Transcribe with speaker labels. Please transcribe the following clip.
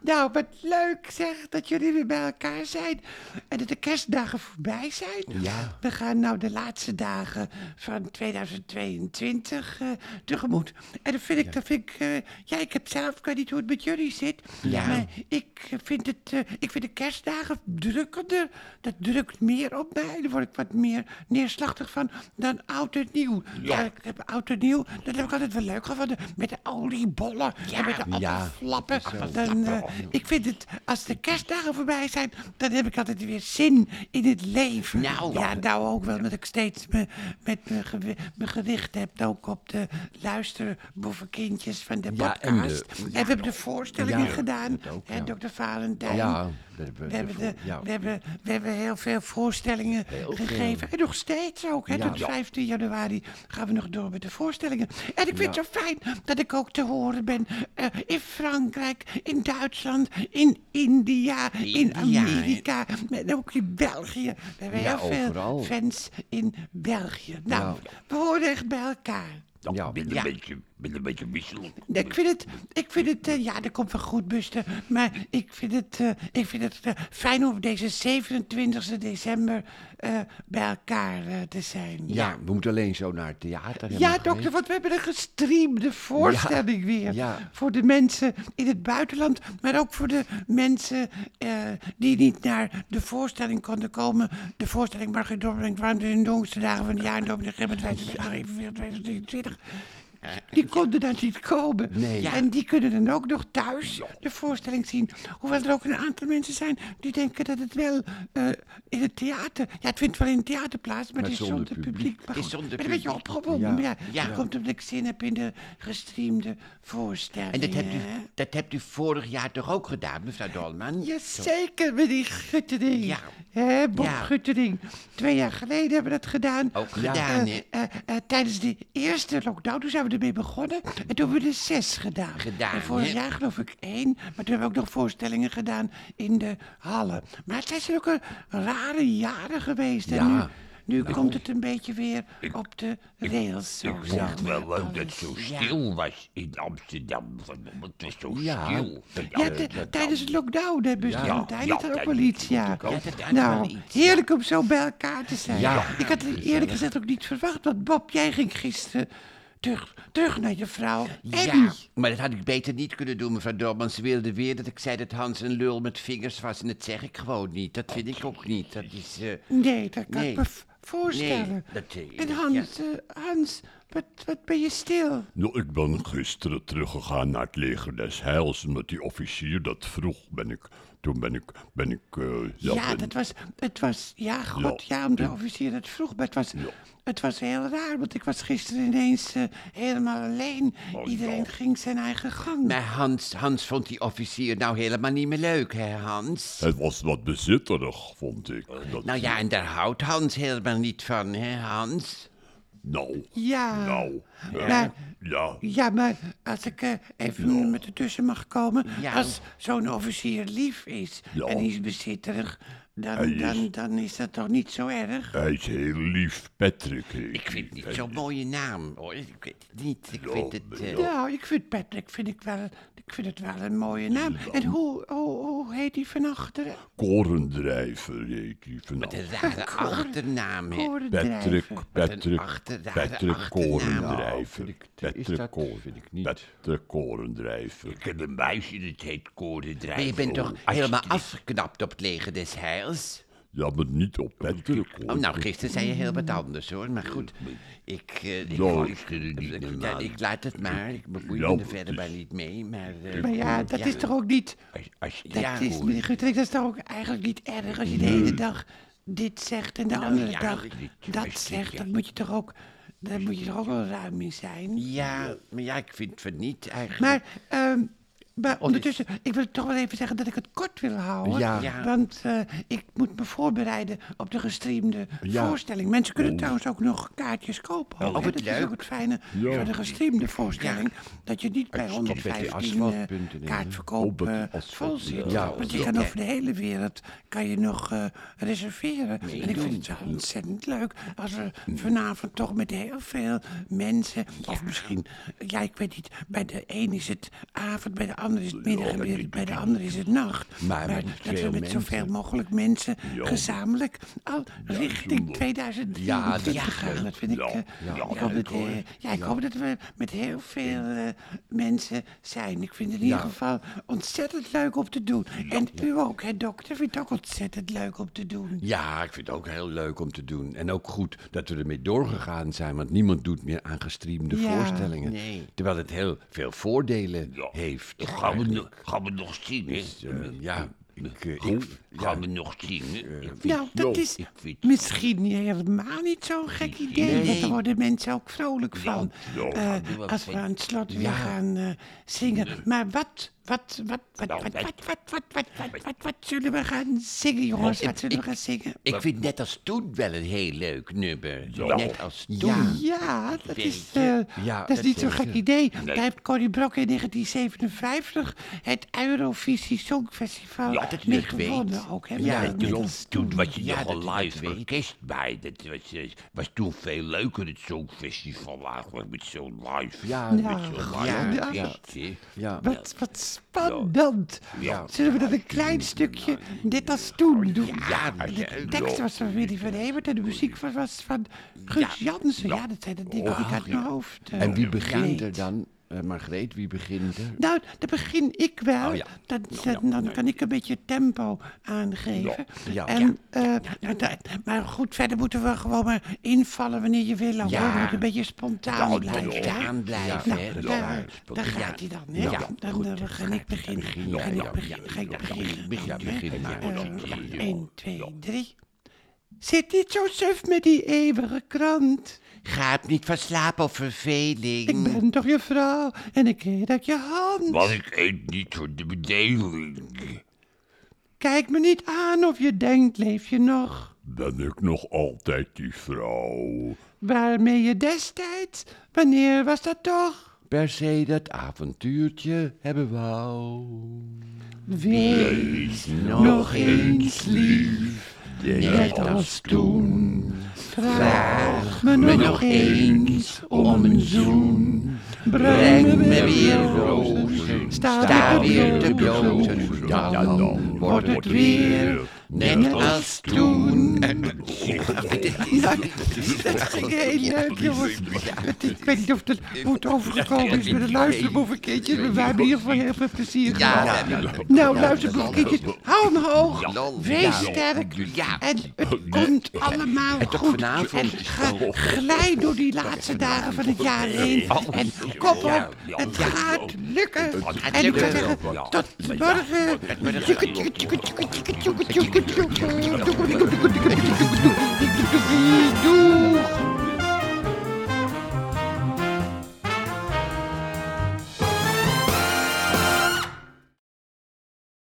Speaker 1: nou, wat leuk zeg, dat jullie weer bij elkaar zijn. En dat de kerstdagen voorbij zijn.
Speaker 2: Ja.
Speaker 1: We gaan nou de laatste dagen van 2022 eh, tegemoet. En dat vind ik, dat vind ik, eh, ja, ik heb zelf, ik weet niet hoe het met jullie zit.
Speaker 2: Ja.
Speaker 1: Maar Eh, ik vind, het, eh, ik vind de kerstdagen drukkender. Dat drukt meer op mij. Daar word ik wat meer neerslachtig van dan oud en nieuw. Ja. ik heb oud en nieuw, dat heb ik altijd wel leuk gevonden. Met de oliebollen en met de
Speaker 2: Ja.
Speaker 1: appelflappen. Dan, eh, ik vind het, als de kerstdagen voorbij zijn, dan heb ik altijd weer zin in het leven.
Speaker 2: Nou.
Speaker 1: ja, nou ook wel, omdat ik steeds me, met mijn gewi- mijn gewicht heb. Ook op de luisterboevenkindjes van de
Speaker 2: Ja, en de-
Speaker 1: podcast. En, we hebben de voorstellingen
Speaker 2: Ja,
Speaker 1: gedaan.
Speaker 2: dat ook,
Speaker 1: hè,
Speaker 2: ja.
Speaker 1: Dr. Valentijn.
Speaker 2: Ja, dat hebben we-
Speaker 1: we, hebben de,
Speaker 2: ja.
Speaker 1: we, hebben, we hebben heel veel voorstellingen gegeven. En nog steeds ook. Hè,
Speaker 2: Ja.
Speaker 1: Tot
Speaker 2: Ja.
Speaker 1: 15 januari gaan we nog door met de voorstellingen. En ik vind
Speaker 2: Ja.
Speaker 1: het zo fijn dat ik ook te horen ben eh, in Frankrijk, in Duitsland, in India, in
Speaker 2: India, hè.
Speaker 1: Amerika. En ook in België. We hebben
Speaker 2: Ja,
Speaker 1: heel veel
Speaker 2: overal.
Speaker 1: fans in België. Nou, we horen echt bij elkaar.
Speaker 2: Ja,
Speaker 3: ben,
Speaker 2: ja.
Speaker 3: Een beetje, ben een beetje misselijk.
Speaker 1: Ik vind het, ik vind het eh, ja, dat komt wel goed, Buster. Maar ik vind het, eh, ik vind het eh, fijn om op deze 27 december eh, bij elkaar eh, te zijn.
Speaker 2: Ja, we moeten alleen zo naar het theater. en
Speaker 1: Ja,
Speaker 2: nog
Speaker 1: dokter, want we hebben een gestreamde voorstelling weer.
Speaker 2: ja.
Speaker 1: Voor de mensen in het buitenland, maar ook voor de mensen eh, die niet naar de voorstelling konden komen. De voorstelling Margriet Dorbrink, warmte in de jongste dagen van het jaar, Dominic Gemmert, 2023. Die konden daar niet komen.
Speaker 2: Nee. Ja.
Speaker 1: En die kunnen dan ook nog thuis de voorstelling zien. Hoewel er ook een aantal mensen zijn die denken dat het wel eh, in het theater... Ja, het vindt wel in het theater plaats, maar, het is zonder publiek. Maar
Speaker 3: Het is
Speaker 1: goed,
Speaker 3: zonder
Speaker 1: ik ben een beetje
Speaker 3: publiek.
Speaker 1: opgewonden.
Speaker 2: Ja.
Speaker 1: Ja. Ja.
Speaker 3: Ja.
Speaker 1: Dat komt omdat ik zin heb in de gestreamde voorstelling.
Speaker 3: En dat hebt, u,
Speaker 1: hè?
Speaker 3: dat hebt u vorig jaar toch ook gedaan, mevrouw Dolman?
Speaker 1: Jazeker, met die Guttering.
Speaker 3: Ja.
Speaker 1: Hè, Bob
Speaker 3: Ja.
Speaker 1: Guttering. Twee jaar geleden hebben we dat gedaan.
Speaker 3: Ook gedaan,
Speaker 1: Eh,
Speaker 3: hè?
Speaker 1: eh, eh, tijdens de eerste lockdown, toen zijn we ermee begonnen. En toen hebben we er zes gedaan.
Speaker 3: Gedaan,
Speaker 1: En vorig
Speaker 3: hè?
Speaker 1: jaar geloof ik één. Maar toen hebben we ook nog voorstellingen gedaan in de hallen. Maar het zijn zulke rare jaren geweest. En
Speaker 2: Ja.
Speaker 1: nu, nu komt het een beetje weer op de rails. zo
Speaker 3: Ik
Speaker 1: zeggen
Speaker 3: vond
Speaker 1: we
Speaker 3: wel leuk dat het
Speaker 1: alles.
Speaker 3: zo stil was in Amsterdam. verdomme, Het was zo
Speaker 2: Ja.
Speaker 3: stil.
Speaker 1: Ja, t- tijdens het lockdown hebben ze
Speaker 2: Ja.
Speaker 1: ja. tijd
Speaker 3: Ja,
Speaker 1: dat er ook
Speaker 3: tijdens
Speaker 1: wel
Speaker 3: het
Speaker 1: iets, ja.
Speaker 3: lockdown. Ja, dat had
Speaker 1: Nou,
Speaker 3: wel iets, ja.
Speaker 1: heerlijk om zo bij elkaar te zijn.
Speaker 2: Ja.
Speaker 1: Ik had het eerlijk gezegd ook niet verwacht, want Bob, jij ging gisteren terug, terug naar je vrouw Emmy.
Speaker 3: Ja, maar dat had ik beter niet kunnen doen, mevrouw Dorman. Ze wilde weer dat ik zei dat Hans een lul met vingers was. En dat zeg ik gewoon niet. Dat vind ik ook niet. Dat is... eh,
Speaker 1: Nee, dat kan
Speaker 3: Nee.
Speaker 1: ik me v- voorstellen.
Speaker 3: Nee, dat, eh,
Speaker 1: en
Speaker 3: ja.
Speaker 1: Hans, eh, Hans wat, wat ben je stil?
Speaker 4: Nou, ik ben gisteren teruggegaan naar het leger des Heils. Omdat die officier dat vroeg, ben ik. Toen ben ik. Ben ik eh,
Speaker 1: Ja,
Speaker 4: ben-
Speaker 1: dat was, het was, ja, god, ja,
Speaker 4: Ja.
Speaker 1: omdat de officier dat vroeg, maar het was, het was heel raar, want ik was gisteren ineens eh, helemaal alleen. Iedereen ging zijn eigen gang.
Speaker 3: Maar Hans, Hans vond die officier nou helemaal niet meer leuk, hè, Hans?
Speaker 4: Het was wat bezitterig, vond ik.
Speaker 2: Oh.
Speaker 4: Dat,
Speaker 3: Nou ja, en daar houdt Hans helemaal niet van, hè, Hans?
Speaker 4: Nou.
Speaker 1: Ja.
Speaker 4: Nou. eh,
Speaker 1: Maar-
Speaker 4: ja.
Speaker 1: Ja, maar als ik eh, even met ertussen mag komen.
Speaker 3: Ja.
Speaker 1: Als zo'n officier lief is
Speaker 4: Ja.
Speaker 1: en die is bezitterig, dan,
Speaker 4: Hij is-
Speaker 1: Dan, dan is dat toch niet zo erg?
Speaker 4: Hij is heel lief, Patrick.
Speaker 3: Ik vind het niet zo'n mooie naam, hoor. Ik weet het niet. Ik vind het... eh,
Speaker 1: Nou, ik vind Patrick vind ik wel, ik vind het wel een mooie naam. En hoe, hoe, hoe heet die van achteren?
Speaker 4: Korendrijver heet hij
Speaker 3: een
Speaker 4: vanavond.
Speaker 3: rare achternaam, hè?
Speaker 4: Patrick,
Speaker 1: Korendrijver.
Speaker 4: Patrick,
Speaker 3: achter- rare
Speaker 4: Patrick
Speaker 3: achternaam.
Speaker 2: Nou,
Speaker 4: Korendrijver.
Speaker 2: vind ik- is
Speaker 4: Patrick
Speaker 2: dat-
Speaker 4: Koren-
Speaker 2: vind ik niet.
Speaker 4: Patrick Korendrijver.
Speaker 3: Ik heb een muisje, dat heet Korendrijver. Maar je
Speaker 2: Oh,
Speaker 3: bent toch helemaal afgeknapt op het leger des heils?
Speaker 4: Ja, maar niet op Patrick. hoor.
Speaker 3: Oh, nou, gisteren zei je heel wat anders, hoor. Maar goed, ik... eh, ik,
Speaker 4: Ja,
Speaker 3: ik-
Speaker 4: ik vind het niet
Speaker 3: ik-
Speaker 4: normaal.
Speaker 3: ik laat het maar. Ik bemoei
Speaker 4: Ja,
Speaker 3: me er
Speaker 4: het
Speaker 3: verder
Speaker 4: is-
Speaker 3: maar niet mee, maar... eh,
Speaker 1: Maar ja, dat is toch ook niet...
Speaker 3: Als, als je
Speaker 1: Dat
Speaker 3: ja,
Speaker 1: is,
Speaker 3: hoor.
Speaker 1: meneer Guttering, dat is toch ook eigenlijk niet erg als je de ene dag dit zegt en de andere
Speaker 3: Hmm. ja,
Speaker 1: dag
Speaker 3: ik- ik- ik-
Speaker 1: dat zegt.
Speaker 3: ja.
Speaker 1: Dan moet je toch ook, daar moet je toch ook wel ruim in zijn.
Speaker 3: Ja, maar ja, ik vind het niet eigenlijk.
Speaker 1: Maar, ehm, maar ondertussen, ik wil toch wel even zeggen dat ik het kort wil houden.
Speaker 2: Ja.
Speaker 3: Ja.
Speaker 1: Want eh, ik moet me voorbereiden op de gestreamde
Speaker 2: Ja.
Speaker 1: voorstelling. Mensen kunnen
Speaker 3: Oh.
Speaker 1: trouwens ook nog kaartjes kopen. hoor.
Speaker 3: wat
Speaker 1: dat is
Speaker 3: leuk.
Speaker 1: ook het fijne
Speaker 4: Ja.
Speaker 1: voor de gestreamde voorstelling. Dat je niet bij
Speaker 2: Uitstekend.
Speaker 1: 115
Speaker 2: Bij de
Speaker 1: eh,
Speaker 2: asfaltpunten,
Speaker 1: kaartverkoop
Speaker 4: Oh, bij
Speaker 1: eh,
Speaker 4: de asfalt,
Speaker 1: vol zit.
Speaker 2: ja.
Speaker 1: Want je kan over de hele wereld kan je nog eh, reserveren. en ik vind het wel ontzettend leuk als we vanavond toch met heel veel mensen... Of misschien, ja, ik weet niet, bij de een is het avond, bij de ander ander is het middag en weer- bij de ander is het nacht.
Speaker 2: Maar met
Speaker 1: dat we
Speaker 2: veel
Speaker 1: met zoveel
Speaker 2: mensen.
Speaker 1: mogelijk mensen
Speaker 4: Ja.
Speaker 1: gezamenlijk al richting
Speaker 4: dat-
Speaker 1: 2023
Speaker 2: Ja, dat-
Speaker 1: gaan. Dat vind ik.
Speaker 4: Ja,
Speaker 1: eh,
Speaker 4: ja,
Speaker 1: ja,
Speaker 4: dat
Speaker 1: dat,
Speaker 4: vind ik
Speaker 1: eh,
Speaker 4: hoor.
Speaker 1: ja, ik hoop dat we met heel veel eh, mensen zijn. Ik vind het in ieder geval ontzettend leuk om te doen. En u ook, hè, dokter? Vindt het ook ontzettend leuk om te doen.
Speaker 2: Ja, Ah, ik vind het ook heel leuk om te doen. En ook goed dat we ermee doorgegaan zijn, want niemand doet meer aan gestreamde
Speaker 1: Ja,
Speaker 2: voorstellingen.
Speaker 3: nee.
Speaker 2: Terwijl het heel veel voordelen
Speaker 4: Ja.
Speaker 2: heeft.
Speaker 3: Dat gaan we,
Speaker 2: eigenlijk.
Speaker 3: nog- gaan we nog zien, hè?
Speaker 2: Dus, eh, ja, ik, eh,
Speaker 3: Goed,
Speaker 2: ik-
Speaker 3: gaan we nog zien, hè? Ik vind-
Speaker 1: Nou, dat
Speaker 4: Ja,
Speaker 1: is
Speaker 3: ik vind-
Speaker 1: misschien helemaal niet zo'n gek idee. Want
Speaker 3: Nee.
Speaker 1: daar worden mensen ook vrolijk van.
Speaker 4: ja,
Speaker 1: Eh,
Speaker 3: doe wat
Speaker 1: als we
Speaker 3: fijn.
Speaker 1: aan het slot weer gaan eh, zingen. Maar wat, wat, wat, wat,
Speaker 3: Nou,
Speaker 1: wat,
Speaker 3: wat-
Speaker 1: wat, wat, wat, wat, wat, wat, wat zullen we gaan zingen, jongens?
Speaker 3: Nou,
Speaker 1: Wat zullen we
Speaker 3: ik-
Speaker 1: gaan zingen?
Speaker 3: Ik vind net als toen wel een heel leuk nummer.
Speaker 4: Ja.
Speaker 3: Net als toen.
Speaker 2: Ja.
Speaker 1: Ja, dat is,
Speaker 3: Weet
Speaker 1: eh,
Speaker 2: Ja,
Speaker 1: dat is
Speaker 2: dat
Speaker 1: niet zo'n
Speaker 2: weet
Speaker 1: gek idee. Daar heeft Corrie Brok in 1957 het Eurovisie Songfestival
Speaker 3: Ja, dat
Speaker 1: mee
Speaker 3: ik weet.
Speaker 1: gewonnen. Ook, hè?
Speaker 3: Ja,
Speaker 1: Maar net
Speaker 3: toen,
Speaker 1: als
Speaker 3: toen was je
Speaker 2: Ja, dat ik
Speaker 3: nogal
Speaker 2: dat
Speaker 3: live
Speaker 2: weet.
Speaker 3: orkest bij. Dat was, eh, was toen veel leuker, het Songfestival eigenlijk, met zo'n live.
Speaker 2: Ja.
Speaker 3: met
Speaker 1: Ja.
Speaker 3: zo'n
Speaker 1: Ja,
Speaker 3: live
Speaker 1: ja.
Speaker 3: orkest, hè.
Speaker 2: ja.
Speaker 1: Wat, wat spannend. Zullen we dat een klein stukje, net als toen, doen?
Speaker 3: Ja,
Speaker 1: De tekst was van Willy van Hevert en de muziek was- was van Guus Jansen. Ja, dat
Speaker 3: Oh,
Speaker 1: zijn de dingen die ik uit mijn hoofd... eh,
Speaker 2: En wie begint
Speaker 1: weet.
Speaker 2: er dan? Eh Margreet, wie begint er?
Speaker 1: Nou, dan begin ik wel.
Speaker 2: Oh ja.
Speaker 1: dan,
Speaker 3: Nou,
Speaker 1: dan, dan kan ik een beetje tempo aangeven.
Speaker 2: Ja.
Speaker 1: En, eh, nou, dat- maar goed, verder moeten we gewoon maar invallen wanneer je wil. Hoor.
Speaker 3: Ja. Nou,
Speaker 1: We moeten een beetje spontaan
Speaker 3: Ja,
Speaker 1: blijven.
Speaker 3: spontaan
Speaker 1: hè?
Speaker 3: blijven,
Speaker 1: Nou,
Speaker 3: hè.
Speaker 1: daar,
Speaker 3: Ja,
Speaker 1: daar
Speaker 3: spontaan.
Speaker 1: gaat hij dan. Hè?
Speaker 3: Ja,
Speaker 1: Dan eh, ga ik beginnen.
Speaker 3: Ja,
Speaker 1: Ga
Speaker 3: ja,
Speaker 1: ik beginnen. Ga
Speaker 3: ja,
Speaker 1: ik beginnen.
Speaker 3: begin-
Speaker 1: dan, hè.
Speaker 3: begin maar.
Speaker 1: Eh,
Speaker 3: Dan begin je.
Speaker 1: 1, 2, 3. Zit niet zo suf met die eeuwige krant.
Speaker 3: Gaat niet van slaap of verveling.
Speaker 1: Ik ben toch je vrouw en ik eet uit je hand.
Speaker 3: Want ik eet niet voor de bedeling.
Speaker 1: Kijk me niet aan of je denkt, leef je nog?
Speaker 4: Ben ik nog altijd die vrouw?
Speaker 1: Waarmee je destijds, wanneer was dat toch?
Speaker 2: Per se dat avontuurtje hebben we al.
Speaker 1: Wees nog eens lief, net als toen. Vraag me nog eens om een zoen. Breng me weer rozen, sta weer te blozen. Dan wordt het weer net als toen. Dat ging heel leuk, jongens. Ik weet niet of het, hoe het overgekomen is met de luisterboevenkindjes, maar wij hebben in ieder geval heel veel plezier
Speaker 3: Ja,
Speaker 1: gehad.
Speaker 3: ja, ja.
Speaker 1: Nou, luisterboevenkindjes, hou hem hoog,
Speaker 3: Ja.
Speaker 1: wees
Speaker 3: Ja.
Speaker 1: sterk
Speaker 3: Ja.
Speaker 1: en het komt allemaal
Speaker 3: toch
Speaker 1: goed. En
Speaker 3: vanavond?
Speaker 1: ga, glij door die laatste dagen van het jaar heen en kop op, het gaat lukken. En ik zou zeggen, tot morgen.